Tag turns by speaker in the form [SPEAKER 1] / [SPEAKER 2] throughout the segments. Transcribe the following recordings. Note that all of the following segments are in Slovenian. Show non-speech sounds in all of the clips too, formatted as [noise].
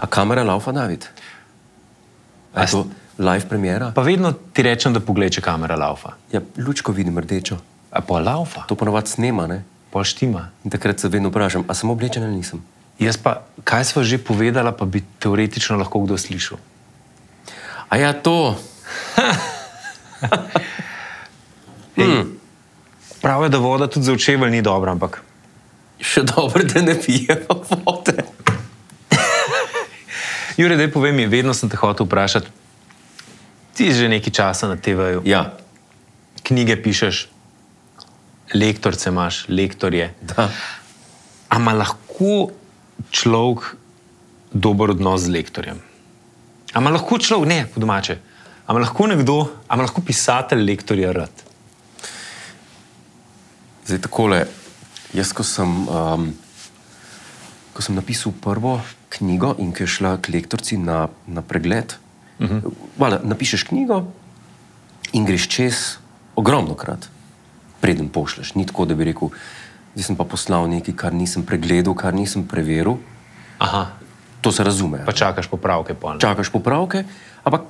[SPEAKER 1] A kamera laufa, David? A je
[SPEAKER 2] A
[SPEAKER 1] to live premiera?
[SPEAKER 2] Pa vedno ti rečem, da pogleče kamera laufa.
[SPEAKER 1] Ja, lučko vidim rdečo.
[SPEAKER 2] A pa laufa,
[SPEAKER 1] To ponovadi snema, ne?
[SPEAKER 2] pa štima.
[SPEAKER 1] In takrat se vedno vprašam, a sem oblečen ali nisem.
[SPEAKER 2] Jaz pa, kaj smo že povedala, pa bi teoretično lahko kdo slišal.
[SPEAKER 1] A ja, to.
[SPEAKER 2] Prav je, da voda tudi za očevelj ni dobra, ampak
[SPEAKER 1] Še dobro, da ne pijemo vode.
[SPEAKER 2] Jure, da povem, mi, vedno sem te hotel vprašati. Ti že nekaj časa na TV-ju,
[SPEAKER 1] Ja,
[SPEAKER 2] knjige pišeš, lektorce imaš, lektorje.
[SPEAKER 1] da.
[SPEAKER 2] Ampak lahko človek dober odnos z lektorjem. Ampak lahko človek, ne, po domače. Ampak lahko nekdo, ampak lahko pisatelj lektorja rad.
[SPEAKER 1] Zdaj takole. Jaz, ko sem, um, ko sem napisal prvo knjigo in ki je šla k lektorci na, na pregled, uh -huh. Vala, napišeš knjigo in greš čez ogromno krat, preden pošleš. Ni tako, da bi rekel, zdaj sem pa poslal nekaj, kar nisem pregledal, kar nisem preveril.
[SPEAKER 2] Aha,
[SPEAKER 1] To se razume.
[SPEAKER 2] pa čakaš popravke polne.
[SPEAKER 1] čakaš popravke, ampak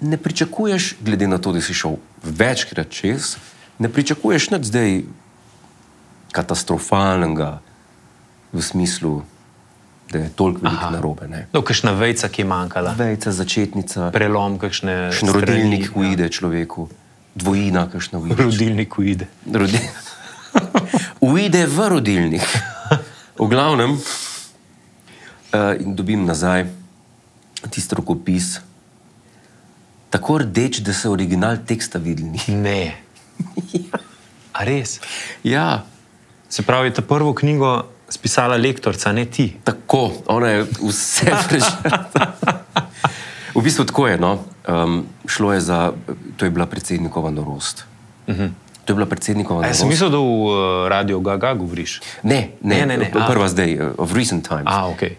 [SPEAKER 1] ne pričakuješ, glede na to, da si šel večkrat čez, ne pričakuješ nič zdaj katastrofalnega v smislu, da je toliko veliko
[SPEAKER 2] Aha.
[SPEAKER 1] narobe. Ne?
[SPEAKER 2] No, kakšna vejca, ki je manjkala,
[SPEAKER 1] Vejca, začetnica,
[SPEAKER 2] prelom, kakšne.
[SPEAKER 1] kakšen rodilnik
[SPEAKER 2] strani,
[SPEAKER 1] uide človeku, dvojina, kakšna
[SPEAKER 2] ja.
[SPEAKER 1] uide.
[SPEAKER 2] Rodilnik uide.
[SPEAKER 1] Rodi... [laughs] Uide v rodilnik. V glavnem, uh, in dobim nazaj tisti rokopis, tako rdeč, da se original teksta videl. ni.
[SPEAKER 2] Ne. A res.
[SPEAKER 1] [laughs] Ja,
[SPEAKER 2] Se pravi, ta prvo knjigo spisala lektorca, ne ti.
[SPEAKER 1] tako, ona je vse [laughs] prežela. V bistvu tako je. No? Um, šlo je za, to je bila predsednikova norost. Uh -huh. To je bila predsednikova
[SPEAKER 2] Mhm. A, jaz sem
[SPEAKER 1] norost.
[SPEAKER 2] mislil, da v uh, Radio Gaga govoriš.
[SPEAKER 1] Ne, ne,
[SPEAKER 2] Ne, ne, ne, a.
[SPEAKER 1] prva zdaj, eh, of recent times.
[SPEAKER 2] A, ok.
[SPEAKER 1] Eh,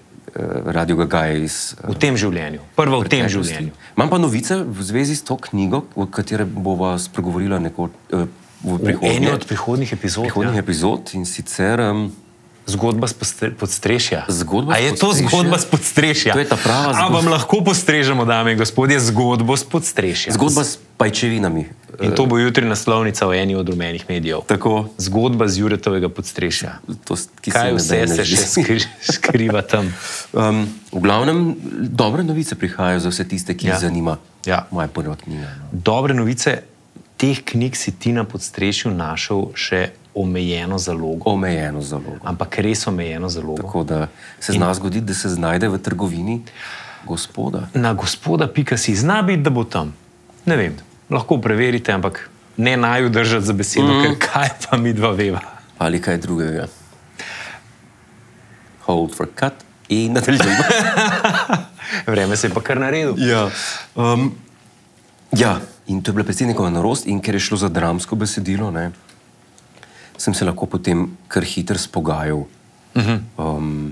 [SPEAKER 1] Radio Gaga je iz
[SPEAKER 2] V tem življenju. Prva v tem
[SPEAKER 1] preteklosti.
[SPEAKER 2] življenju.
[SPEAKER 1] Imam pa novice v zvezi s to knjigo, o kateri bova spregovorila neko, eh, v
[SPEAKER 2] Eno od
[SPEAKER 1] prihodnje.
[SPEAKER 2] prihodnih epizod.
[SPEAKER 1] prihodnjih
[SPEAKER 2] ja.
[SPEAKER 1] epizod in sicer um,
[SPEAKER 2] Zgodba s postre- podstrešja.
[SPEAKER 1] Zgodba
[SPEAKER 2] A
[SPEAKER 1] s
[SPEAKER 2] je to
[SPEAKER 1] podstrešja?
[SPEAKER 2] zgodba s podstrešja?
[SPEAKER 1] To je ta prava
[SPEAKER 2] A
[SPEAKER 1] zgodba.
[SPEAKER 2] vam lahko postrežemo, dame in gospodje, zgodbo s podstrešja.
[SPEAKER 1] zgodba s pajčevinami.
[SPEAKER 2] In to bo jutri naslovnica v eni od rumenih medijev.
[SPEAKER 1] Tako,
[SPEAKER 2] Zgodba z Juretovega podstrešja.
[SPEAKER 1] to, s- ki
[SPEAKER 2] Kaj vse
[SPEAKER 1] noben ne
[SPEAKER 2] se še
[SPEAKER 1] želi.
[SPEAKER 2] skri, skriva tam?
[SPEAKER 1] Um, v glavnem, dobre novice prihajajo za vse tiste, ki
[SPEAKER 2] Ja.
[SPEAKER 1] jih zanima
[SPEAKER 2] Ja.
[SPEAKER 1] moja prva knjiga. no.
[SPEAKER 2] Dobre novice, teh knjig si ti na podstrešju našel še omejeno zalogo,
[SPEAKER 1] Omejeno zelo.
[SPEAKER 2] ampak res omejeno zalogo.
[SPEAKER 1] Tako da se zna zgoditi, da se znajde v trgovini gospoda.
[SPEAKER 2] Na gospoda pika si zna biti, da bo tam. Ne vem, lahko preverite, ampak ne naj jo držati za besedo, mm. ker kaj pa mi dva veva.
[SPEAKER 1] ali kaj drugega. Hold for cut in [laughs] nadaljujemo.
[SPEAKER 2] Vreme se je pa kar naredil.
[SPEAKER 1] ja. Um, ja, in to je bila predsednikova norost, in ker je šlo za dramsko besedilo, ne, sem se lahko potem kar hitro spogajal. Um,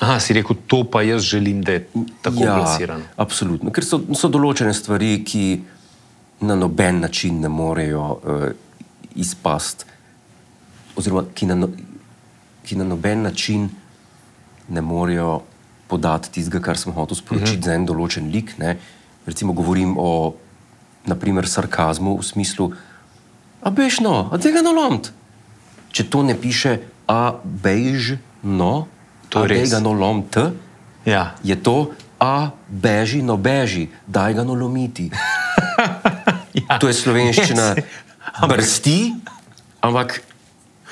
[SPEAKER 2] Aha, si rekel, to pa jaz želim, da je tako ja. plasirano.
[SPEAKER 1] Absolutno, ker so, so določene stvari, ki na noben način ne morejo uh, izpasti, oziroma ki na, no, ki na noben način ne morejo podati tistega, kar sem hotel sporočiti
[SPEAKER 2] Mhm.
[SPEAKER 1] uh -huh. za en določen lik. Ne? Recimo, govorim o naprimer, sarkazmu v smislu, a bež no, a tega nalomt. Če to ne piše, a bež no,
[SPEAKER 2] To je
[SPEAKER 1] a
[SPEAKER 2] res.
[SPEAKER 1] tega nalomt
[SPEAKER 2] Ja.
[SPEAKER 1] je to, a beži, no beži, daj ga nolomiti.
[SPEAKER 2] Ja.
[SPEAKER 1] To je
[SPEAKER 2] [laughs]
[SPEAKER 1] slovenščina,
[SPEAKER 2] Yes.
[SPEAKER 1] brsti, ampak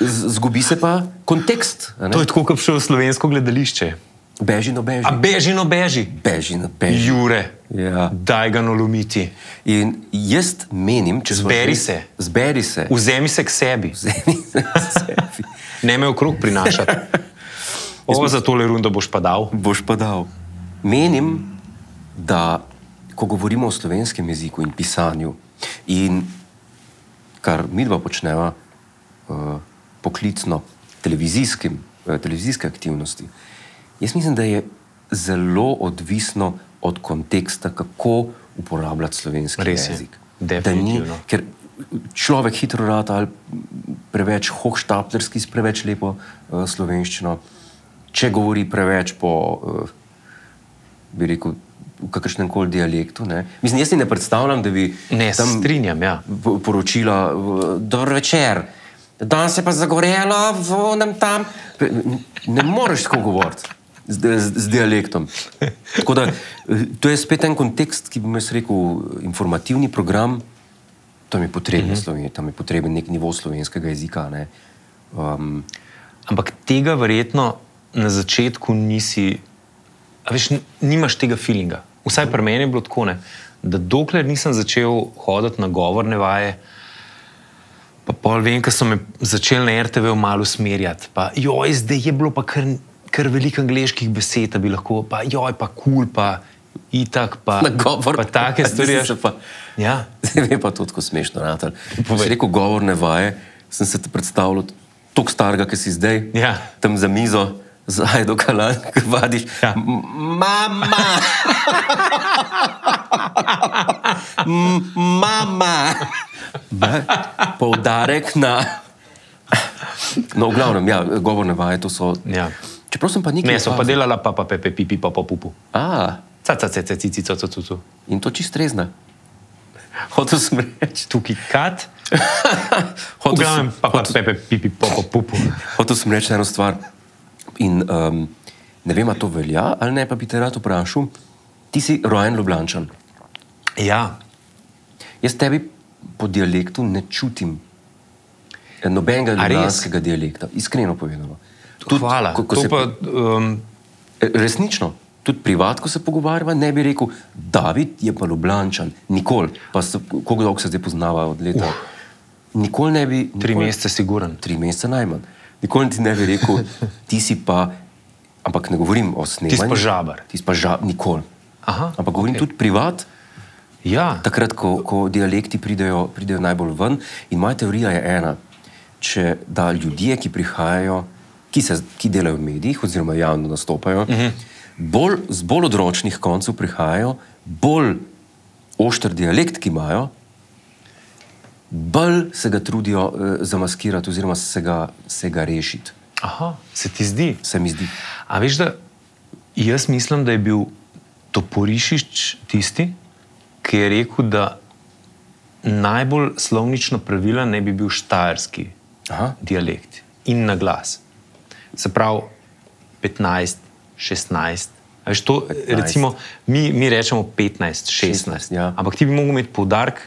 [SPEAKER 1] z- zgubi se pa kontekst. a ne.
[SPEAKER 2] To je tako, kot bi šel v slovensko gledališče.
[SPEAKER 1] Beži, no beži,
[SPEAKER 2] A beži, no beži,
[SPEAKER 1] beži, no beži.
[SPEAKER 2] Jure,
[SPEAKER 1] Ja.
[SPEAKER 2] daj ga no nolomiti.
[SPEAKER 1] In jaz menim, če smo
[SPEAKER 2] Zberi
[SPEAKER 1] že-
[SPEAKER 2] se.
[SPEAKER 1] Zberi se.
[SPEAKER 2] Vzemi se k sebi,
[SPEAKER 1] Vzemi se sebi.
[SPEAKER 2] [laughs] ne me okrog prinašati. Ovo za tole rundo boš pa dal.
[SPEAKER 1] Boš pa dal. Menim, da ko govorimo o slovenskem jeziku in pisanju, in kar mi dva počneva uh, poklicno, televizijskim, eh, televizijske aktivnosti, jaz mislim, da je zelo odvisno od konteksta, kako uporabljati slovenski
[SPEAKER 2] Res je.
[SPEAKER 1] jezik. da ni,
[SPEAKER 2] Definitivno.
[SPEAKER 1] ker človek hitro rata ali preveč hohštaplerski, s preveč lepo uh, slovenščino. Če govori preveč po, uh, bi rekel, v kakršnem koli dialektu. Ne? Mislim, jaz si ne predstavljam, da bi
[SPEAKER 2] Ne, se
[SPEAKER 1] tam
[SPEAKER 2] strinjam, ja.
[SPEAKER 1] po- poročila do večer. Danes je pa zagorelo, vonem tam. Pe- Ne moreš tako govoriti z, z, z dialektom. Tako da, eh, to je spet en kontekst, ki bi mi rekel, informativni program. Tam je potreben,
[SPEAKER 2] Mhm.
[SPEAKER 1] mm -hmm. tam je potreben nek nivo slovenskega jezika. Ne. Um,
[SPEAKER 2] Ampak tega verjetno na začetku nisi, a veš, n- nimaš tega feelinga. Vsaj pri meni je bilo tako, ne, da dokler nisem začel hoditi na govorne vaje, pa pol vem, ko so me začeli na RTV malo usmerjati. Pa joj, zdaj je bilo pa kar, kar veliko angliških besed, da bi lahko, pa joj, pa kul, cool, pa itak, pa,
[SPEAKER 1] Na govor-
[SPEAKER 2] pa take
[SPEAKER 1] [laughs]
[SPEAKER 2] stvari.
[SPEAKER 1] Zdaj sem se pa-
[SPEAKER 2] Ja.
[SPEAKER 1] Zdaj je pa to tako smešno. Natal. Ko
[SPEAKER 2] Povej.
[SPEAKER 1] si rekel govorne vaje, sem se ti predstavljal tako starega, ki si zdaj,
[SPEAKER 2] Ja.
[SPEAKER 1] tam za mizo, zdaj do kalan, ki vadiš.
[SPEAKER 2] Ja.
[SPEAKER 1] "M- Mama! M- Mama! Ne? Poudarek na. No, v glavnem, ja, govorne vaje to so.
[SPEAKER 2] Ja.
[SPEAKER 1] Čeprav sem pa nikoli.
[SPEAKER 2] Ne, so pa delala, pa pa pepe, pipi, pa pa pupu.
[SPEAKER 1] A,
[SPEAKER 2] Caca, caca, cici, caca, cucu.
[SPEAKER 1] in to čist rezna. Hotel sem reči.
[SPEAKER 2] Tukaj kat.
[SPEAKER 1] Hotel
[SPEAKER 2] V
[SPEAKER 1] sem-
[SPEAKER 2] glavnem, pa pa pepe, pipi, popo, pupu.
[SPEAKER 1] Hotel sem reči eno stvar. In, um, ne vem, ali to velja ali ne, pa bi te rad vprašal. Ti si rojen Ljubljančan.
[SPEAKER 2] Ja,
[SPEAKER 1] Jaz tebi po dialektu ne čutim nobenega
[SPEAKER 2] res?
[SPEAKER 1] ljubljanskega dialekta, iskreno povedano. Tudi
[SPEAKER 2] hvala.
[SPEAKER 1] Ko, ko
[SPEAKER 2] To
[SPEAKER 1] se, pa...
[SPEAKER 2] pa, um,
[SPEAKER 1] Resnično, tudi privat, ko se pogovarjava, ne bi rekel, David je pa Ljubljančan, nikoli. Pa se, koliko dolgo se zdaj poznava od leta? Uh. Nikoli ne bi.
[SPEAKER 2] tri
[SPEAKER 1] nikoli-
[SPEAKER 2] mesece siguren.
[SPEAKER 1] tri meseca najmanj. Nikoli ti ne bi rekel, ti si pa, ampak ne govorim o snemanju.
[SPEAKER 2] pa žabar.
[SPEAKER 1] Ti si pa žabar, nikoli.
[SPEAKER 2] Aha,
[SPEAKER 1] ampak govorim okay. tudi privat,
[SPEAKER 2] Ja,
[SPEAKER 1] takrat, ko, ko dialekti pridejo, pridejo najbolj ven. In moja teorija je ena. Če da ljudje, ki prihajajo, ki, se, ki delajo v medijih, oziroma javno nastopajo, uh
[SPEAKER 2] Mhm.
[SPEAKER 1] -huh. bolj, z bolj odročnih koncev prihajajo, bolj ošter dialekt, ki imajo, bolj se ga trudijo eh, zamaskirati, oziroma se ga, se ga rešiti.
[SPEAKER 2] Aha, se ti zdi.
[SPEAKER 1] Se mi zdi.
[SPEAKER 2] A veš, da jaz mislim, da je bil Toporišič tisti, ki je rekel, da najbolj slovnično pravila ne bi bil štajerski
[SPEAKER 1] Aha.
[SPEAKER 2] dialekt in na glas. Se pravi 15, 16. A Veš, to, 15.
[SPEAKER 1] 15.
[SPEAKER 2] Recimo, mi, mi rečemo 15, 16.
[SPEAKER 1] 16,
[SPEAKER 2] 16
[SPEAKER 1] ja.
[SPEAKER 2] Ampak ti bi mogel imeti poudarek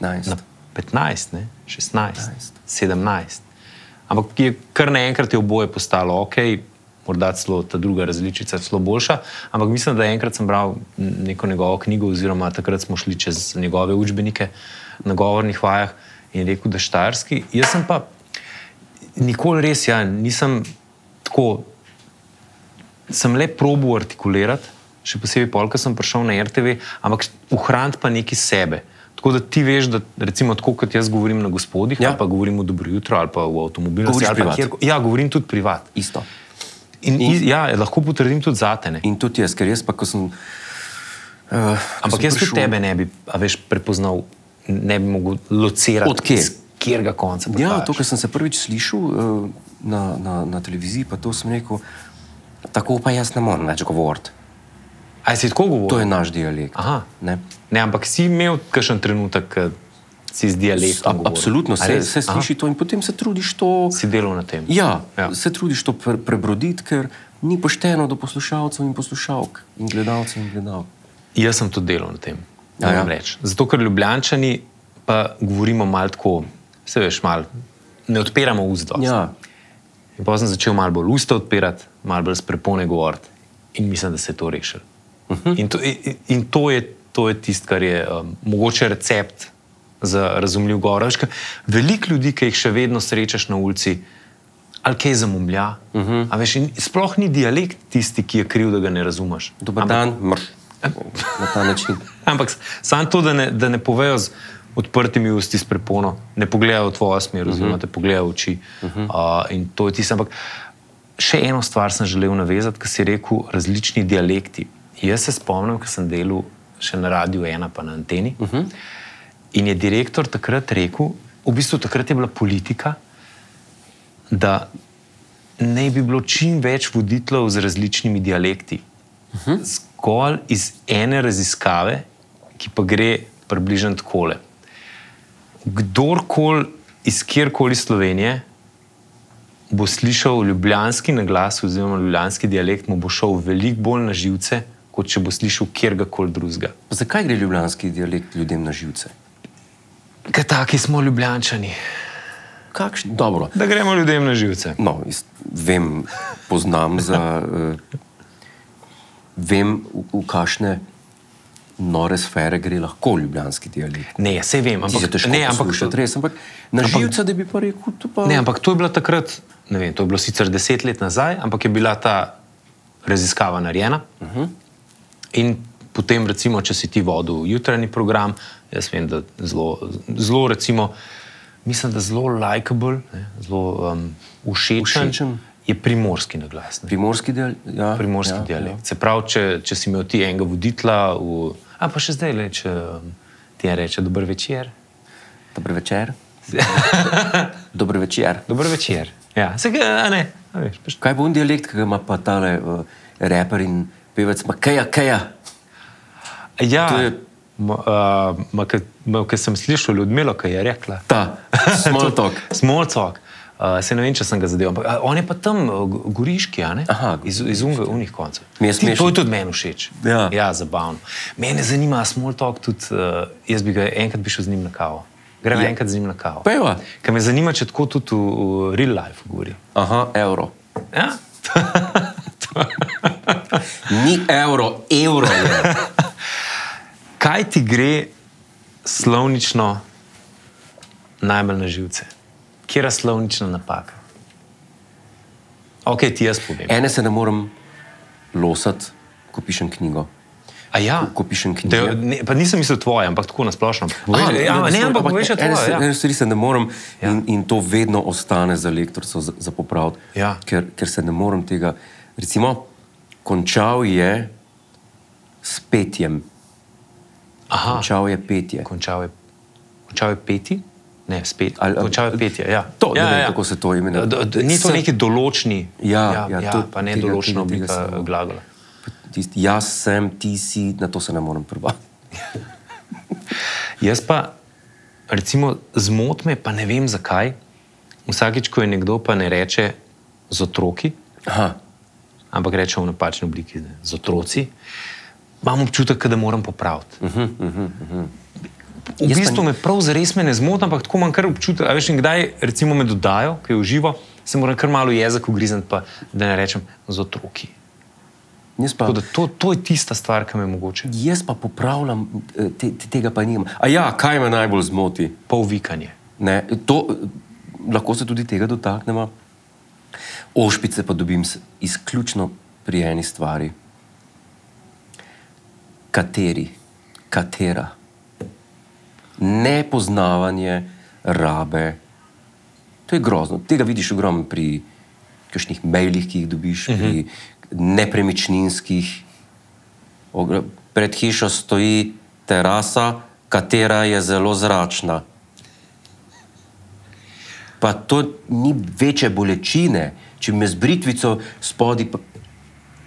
[SPEAKER 1] 15.
[SPEAKER 2] na 15, ne? 16,
[SPEAKER 1] 15.
[SPEAKER 2] 17. Ampak je kar naenkrat je oboje postalo ok, morda celo ta druga različica celo boljša. Ampak mislim, da enkrat sem bral neko njegovo knjigo, oziroma takrat smo šli čez njegove učbenike na govornih vajah in je rekel, da štajerski. Jaz sem pa nikoli res, ja, nisem tako sem le probil artikulirati, še posebej pol, ko sem prišel na RTV, ampak ohraniti pa nekaj sebe. Tako da ti veš, da recimo tako kot jaz govorim na gospodih,
[SPEAKER 1] Ja.
[SPEAKER 2] ja. pa govorim v dobro jutro ali pa v avtomobilu.
[SPEAKER 1] Govoriš
[SPEAKER 2] ali pa
[SPEAKER 1] privat.
[SPEAKER 2] kjerkoli. Ja, govorim tudi privat.
[SPEAKER 1] Isto.
[SPEAKER 2] In, in, ja, lahko potrdim tudi zate. ne.
[SPEAKER 1] In tudi jaz, ker jaz pa, ko sem. eh, Uh,
[SPEAKER 2] Ampak jaz tudi tebe ne bi, a veš, prepoznal, ne bi mogel locirati.
[SPEAKER 1] Od kje?
[SPEAKER 2] iz Kjerga konca.
[SPEAKER 1] Ja,
[SPEAKER 2] prihajaš.
[SPEAKER 1] to, kar sem se prvič slišal eh, na, na, na televiziji, pa to sem rekel, tako pa jaz ne morem več govoriti.
[SPEAKER 2] A si tako govoril?
[SPEAKER 1] To je naš dialekt.
[SPEAKER 2] Aha.
[SPEAKER 1] Ne?
[SPEAKER 2] Ne, ampak si imel kakšen trenutek, ko si z dialektom.
[SPEAKER 1] Ab,
[SPEAKER 2] govoril?
[SPEAKER 1] absolutno
[SPEAKER 2] A
[SPEAKER 1] se,
[SPEAKER 2] res?
[SPEAKER 1] se sliši to in potem se trudiš to.
[SPEAKER 2] Aha, Si delal na tem.
[SPEAKER 1] Ja, ja.
[SPEAKER 2] Ja.
[SPEAKER 1] Se trudiš to pre, prebroditi, ker ni pošteno do poslušalcev in poslušalk in gledalcev in gledalk.
[SPEAKER 2] Jaz sem tudi delal na tem.
[SPEAKER 1] Ja, ja.
[SPEAKER 2] moram reči. Zato, ker ljubljančani pa govorimo malo tako, se veš, malo ne odpiramo usta.
[SPEAKER 1] Ja,
[SPEAKER 2] In potem sem začel malo bolj usta odpirati, malo bolj s prepone govoriti. In mislim, da se je to rešil. Uh
[SPEAKER 1] Mhm.
[SPEAKER 2] -huh. In to, in, in to je, to je tisto, kar je um, mogoče recept za razumljiv govor. A veš, ker Veliko ljudi, ki jih še vedno srečaš na ulici, ali kaj zamumlja. Uh
[SPEAKER 1] Mhm.
[SPEAKER 2] -huh. veš, in sploh ni dialekt tisti, ki je kriv, da ga ne razumeš.
[SPEAKER 1] dober
[SPEAKER 2] Ampak-
[SPEAKER 1] dan, mrš. Na ta način.
[SPEAKER 2] Ampak samo to, da ne, da ne povejo z odprtimi usti, s prepono, ne pogledajo v tvojo smer, oziroma uh -huh. te pogledajo v oči. Uh -huh. uh, in to je tisto. Ampak še eno stvar sem želel navezati, ker si rekel različni dialekti. Jaz se spomnim, ko sem delal še na radiju ena, pa na anteni. Uh -huh. In je direktor takrat rekel, v bistvu takrat je bila politika, da naj bi bilo čim več voditeljev z različnimi dialekti. Uh -huh. Zgolj iz ene raziskave, ki pa gre približno takole. Kdorkoli iz kjerkoli Slovenije bo slišal ljubljanski naglas oziroma ljubljanski dialekt, mu bo šel veliko bolj na živce, kot če bo slišal kjerkoli drugega.
[SPEAKER 1] Pa zakaj gre ljubljanski dialekt ljudem na živce?
[SPEAKER 2] Ker taki smo ljubljančani,
[SPEAKER 1] Kakšni? Dobro.
[SPEAKER 2] da gremo ljudem na živce.
[SPEAKER 1] No, jaz vem, poznam za. Uh, vem, v, v kakšne nore sfere gre lahko ljubljanski dialekt.
[SPEAKER 2] Ne, vse vem,
[SPEAKER 1] Ampak,
[SPEAKER 2] ampak,
[SPEAKER 1] težko
[SPEAKER 2] ne, ampak,
[SPEAKER 1] poslušati, res, ampak na
[SPEAKER 2] ampak-
[SPEAKER 1] živce, da bi pa rekel, to pa
[SPEAKER 2] ne, ampak to je bilo takrat, ne vem, to je bilo sicer deset let nazaj, ampak je bila ta raziskava narejena. Uh
[SPEAKER 1] Mhm.
[SPEAKER 2] -huh. In potem, recimo, če si ti vodil jutranji program, jaz vem, da zelo, zelo recimo, mislim, da zelo likeable, ne, zelo um, všečen,
[SPEAKER 1] Všečen.
[SPEAKER 2] je primorski naglas. Ne.
[SPEAKER 1] primorski dialekt. Ja,
[SPEAKER 2] primorski
[SPEAKER 1] ja,
[SPEAKER 2] ja, dialekt. Ja. Se pravi, če, če si imel ti enega voditla, v... a pa še zdaj le, če um, ti je reče dober večer.
[SPEAKER 1] Ja. Dober
[SPEAKER 2] [laughs]
[SPEAKER 1] večer. Dober večer.
[SPEAKER 2] Dober večer. Ja, se ga a ne. a veš, pač-
[SPEAKER 1] Kaj bo on dialekt, ki ga ima pa tale uh, reper in pevec, ma kaja, kaja.
[SPEAKER 2] Ja,
[SPEAKER 1] To je-
[SPEAKER 2] Ker sem slišal Ljudmilo, kaj je rekla. [laughs]
[SPEAKER 1] Ta, small talk.
[SPEAKER 2] Smolcok. Uh, se ne vem, če sem ga zadeval. Ampak, a, on je pa tam, uh, go- goriški, a ne?
[SPEAKER 1] Aha,
[SPEAKER 2] iz, iz unga, unih koncev.
[SPEAKER 1] Mi je
[SPEAKER 2] Ti,
[SPEAKER 1] smešno.
[SPEAKER 2] to je tudi meni všeč.
[SPEAKER 1] Ja.
[SPEAKER 2] ja zabavno. Mene zanima smolcok tudi, uh, jaz bi ga enkrat bi šel z njim na kavo. Gremo
[SPEAKER 1] Ja.
[SPEAKER 2] ja. enkrat z njim na kavo.
[SPEAKER 1] Pejva.
[SPEAKER 2] Ker me zanima, če tako tudi v, v real life govori.
[SPEAKER 1] Aha, evro.
[SPEAKER 2] Ja?
[SPEAKER 1] Ni evro, evro je.
[SPEAKER 2] Kaj ti gre slovnično najbolj na živce? Kje je slovnična napaka? Ok, ti jaz povem.
[SPEAKER 1] Ene se ne morem losati, ko pišem knjigo.
[SPEAKER 2] A ja,
[SPEAKER 1] Ko pišem
[SPEAKER 2] Da
[SPEAKER 1] knjige.
[SPEAKER 2] jo- ne, pa nisem mislil tvoje, ampak tako na splošno. Povej,
[SPEAKER 1] A,
[SPEAKER 2] ja, ne,
[SPEAKER 1] sorry,
[SPEAKER 2] ampak poveš, da
[SPEAKER 1] ene
[SPEAKER 2] tvoje.
[SPEAKER 1] se-
[SPEAKER 2] Ja.
[SPEAKER 1] Ene stvari se ne morem ja. in, in to vedno ostane za lektorico za, za popraviti,
[SPEAKER 2] Ja.
[SPEAKER 1] ker, ker se ne morem tega. Recimo, končal je s petjem.
[SPEAKER 2] Aha,
[SPEAKER 1] Končal je petje.
[SPEAKER 2] končal je, končal je peti, ne spet.
[SPEAKER 1] Ali-
[SPEAKER 2] Ali, končal je petje. Ja.
[SPEAKER 1] To,
[SPEAKER 2] ja,
[SPEAKER 1] ne vem,
[SPEAKER 2] ja.
[SPEAKER 1] kako se to imenuje.
[SPEAKER 2] D- d- Ni to
[SPEAKER 1] S-
[SPEAKER 2] neki določni,
[SPEAKER 1] Ja, ja,
[SPEAKER 2] ja, ja
[SPEAKER 1] to-
[SPEAKER 2] pa ne
[SPEAKER 1] tega-
[SPEAKER 2] določena
[SPEAKER 1] tega- tega
[SPEAKER 2] oblika
[SPEAKER 1] se ne-
[SPEAKER 2] glagola.
[SPEAKER 1] Tisti, jaz sem, ti si, na to se ne morem prvati.
[SPEAKER 2] Jaz pa, recimo, zmot me, pa ne vem zakaj. Vsakič, ko je nekdo pa ne reče z otroki,
[SPEAKER 1] Aha,
[SPEAKER 2] ampak reče v napačni obliki, ne, z otroci, imam občutek, ke da moram popraviti. Uh -huh, uh -huh. V
[SPEAKER 1] Mhm, Jaz pa
[SPEAKER 2] bistvu
[SPEAKER 1] ni-
[SPEAKER 2] me prav zares me ne zmoti, ampak tako imam kar občutek, a veš, in kdaj recimo me dodajo, ki je uživo, se moram kar malo jezik ugrizniti, pa da ne rečem z otroki.
[SPEAKER 1] jaz pa.
[SPEAKER 2] Tako da to, to je tista stvar, ki me mogoče
[SPEAKER 1] Jaz pa popravljam, eh, te, te, tega pa nimam. A ja, kaj me najbolj zmoti?
[SPEAKER 2] polvikanje.
[SPEAKER 1] Ne, to, eh, lahko se tudi tega dotaknemo. Ošpice pa dobim s- izključno pri eni stvari. Kateri, katera. Nepoznavanje rabe. To je grozno. Tega vidiš ogromno pri kakšnih mailih, ki jih dobiš, uh -huh. pri nepremičninskih. Ogr- Pred hišo stoji terasa, katera je zelo zračna. Pa to ni večje bolečine, če me z britvico spodi. Pa...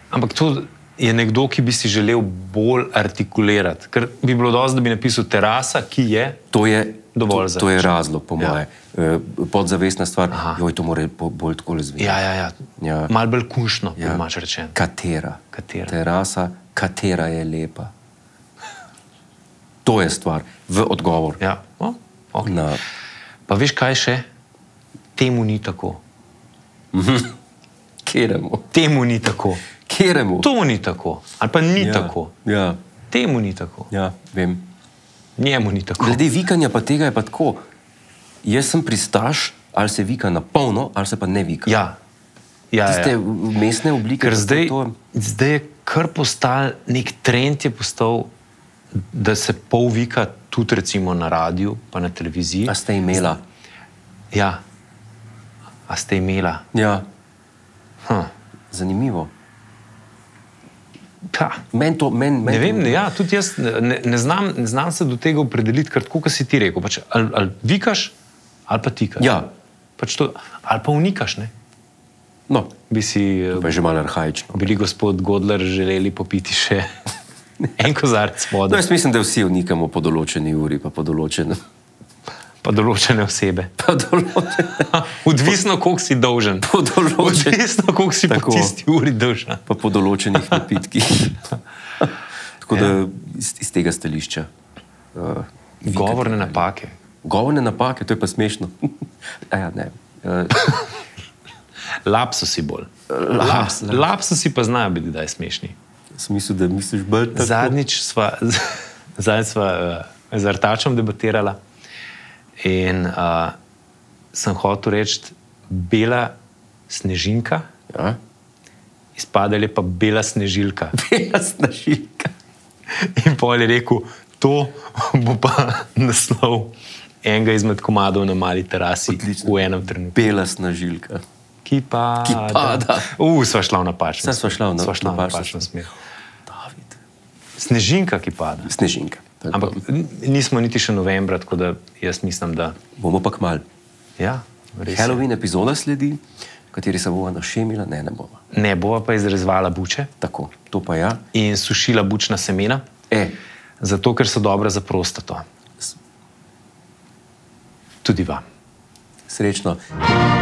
[SPEAKER 2] Ampak to je nekdo, ki bi si želel bolj artikulirati. Ker bi bilo dovolj, da bi napisal terasa, ki je.
[SPEAKER 1] To je,
[SPEAKER 2] Dovolj
[SPEAKER 1] to, to je
[SPEAKER 2] zračno.
[SPEAKER 1] razlog, po
[SPEAKER 2] Ja.
[SPEAKER 1] moje. Eh, Podzavestna stvar,
[SPEAKER 2] Aha.
[SPEAKER 1] joj, to mora bo- bolj tako razviti.
[SPEAKER 2] Ja, ja, ja.
[SPEAKER 1] Ja.
[SPEAKER 2] Mal bolj kunšno, ja. imaš rečeno.
[SPEAKER 1] Katera?
[SPEAKER 2] Katera.
[SPEAKER 1] Terasa, katera je lepa. To je stvar, v odgovor.
[SPEAKER 2] Ja. O, okay.
[SPEAKER 1] Na,
[SPEAKER 2] Pa veš, kaj še? Temu ni tako.
[SPEAKER 1] kjeremu,
[SPEAKER 2] Temu ni tako.
[SPEAKER 1] kjeremu.
[SPEAKER 2] To ni tako. Ali pa ni ja. tako.
[SPEAKER 1] Ja,
[SPEAKER 2] Temu ni tako. Ja.
[SPEAKER 1] ja, vem.
[SPEAKER 2] Njemu ni tako.
[SPEAKER 1] Glede vikanja, pa tega je pa tako. Jaz sem pristaš, ali se vika na polno, ali se pa ne vika.
[SPEAKER 2] Ja. Ja,
[SPEAKER 1] Tiste
[SPEAKER 2] ja.
[SPEAKER 1] mestne oblike,
[SPEAKER 2] Ker
[SPEAKER 1] kako
[SPEAKER 2] zdaj,
[SPEAKER 1] to,
[SPEAKER 2] zdaj je kar postal nek trend, je postal, da se pol vika tudi recimo na radiju, pa na televiziji.
[SPEAKER 1] a ste imela.
[SPEAKER 2] Ja, a ste imela.
[SPEAKER 1] Ja,
[SPEAKER 2] Hm.
[SPEAKER 1] zanimivo.
[SPEAKER 2] Ta.
[SPEAKER 1] Meni to, men, men,
[SPEAKER 2] Ne vem, ne, ja, tudi jaz ne, ne, znam, ne znam se do tega opredeliti, ker tako, kot si ti rekel. Pač, ali, ali vikaš, ali pa tikaš.
[SPEAKER 1] Ja.
[SPEAKER 2] Pač to, ali pa unikaš. Ne?
[SPEAKER 1] No,
[SPEAKER 2] Bi si eh,
[SPEAKER 1] to pa je že malo arhajično.
[SPEAKER 2] bili gospod Godler želeli popiti
[SPEAKER 1] [laughs]
[SPEAKER 2] še en kozarec
[SPEAKER 1] No,
[SPEAKER 2] vode,
[SPEAKER 1] jaz mislim, da vsi vnikamo po določeni uri, pa po [laughs] določenem.
[SPEAKER 2] pa določene
[SPEAKER 1] [laughs]
[SPEAKER 2] osebe.
[SPEAKER 1] Po določenem.
[SPEAKER 2] Odvisno, koliko si dolžen.
[SPEAKER 1] Po določenem.
[SPEAKER 2] Odvisno, koliko si
[SPEAKER 1] Tako.
[SPEAKER 2] po tisti uri dolžen.
[SPEAKER 1] pa po določenih napitkih. [laughs] Tako da
[SPEAKER 2] Ja.
[SPEAKER 1] iz, iz tega stališča. Uh,
[SPEAKER 2] Govorne napake.
[SPEAKER 1] Govorne napake, to je pa smešno. [laughs] A ja, ne. Uh,
[SPEAKER 2] Lapsusi bolj.
[SPEAKER 1] Laps,
[SPEAKER 2] Laps- Lapsusi pa znajo biti kdaj smešni.
[SPEAKER 1] smisel, da misliš bolj tako.
[SPEAKER 2] Zadnjič sva, [laughs] zadnjič sva uh, z Artačem debatirala in uh, sem hotel reči, bela snežinka,
[SPEAKER 1] Ja? [laughs]
[SPEAKER 2] izpadela je pa bela snežilka.
[SPEAKER 1] Bela snažilka.
[SPEAKER 2] [laughs] In pol je rekel, to bo pa [laughs] naslov enega izmed komadov na mali terasi
[SPEAKER 1] Odlično.
[SPEAKER 2] v enem trenutku.
[SPEAKER 1] Bela snažilka.
[SPEAKER 2] Ki pa.
[SPEAKER 1] Ki pada.
[SPEAKER 2] Uf, sva šla v napačno.
[SPEAKER 1] Saj sva šla v na-
[SPEAKER 2] sva šla v
[SPEAKER 1] napačno
[SPEAKER 2] napačno smer.
[SPEAKER 1] David.
[SPEAKER 2] Snežinka, ki pada.
[SPEAKER 1] Snežinka. Tako.
[SPEAKER 2] Ampak n- nismo niti še novembra, tako da jaz mislim, da.
[SPEAKER 1] bomo pa kmal.
[SPEAKER 2] Ja, res. je.
[SPEAKER 1] Halloween epizoda sledi, v kateri se bova našemila, ne, ne bova.
[SPEAKER 2] Ne bova pa izrezvala buče
[SPEAKER 1] Tako, to pa ja.
[SPEAKER 2] in sušila bučna semena,
[SPEAKER 1] E,
[SPEAKER 2] zato ker so dobra za prostato.
[SPEAKER 1] S-
[SPEAKER 2] Tudi vam.
[SPEAKER 1] srečno.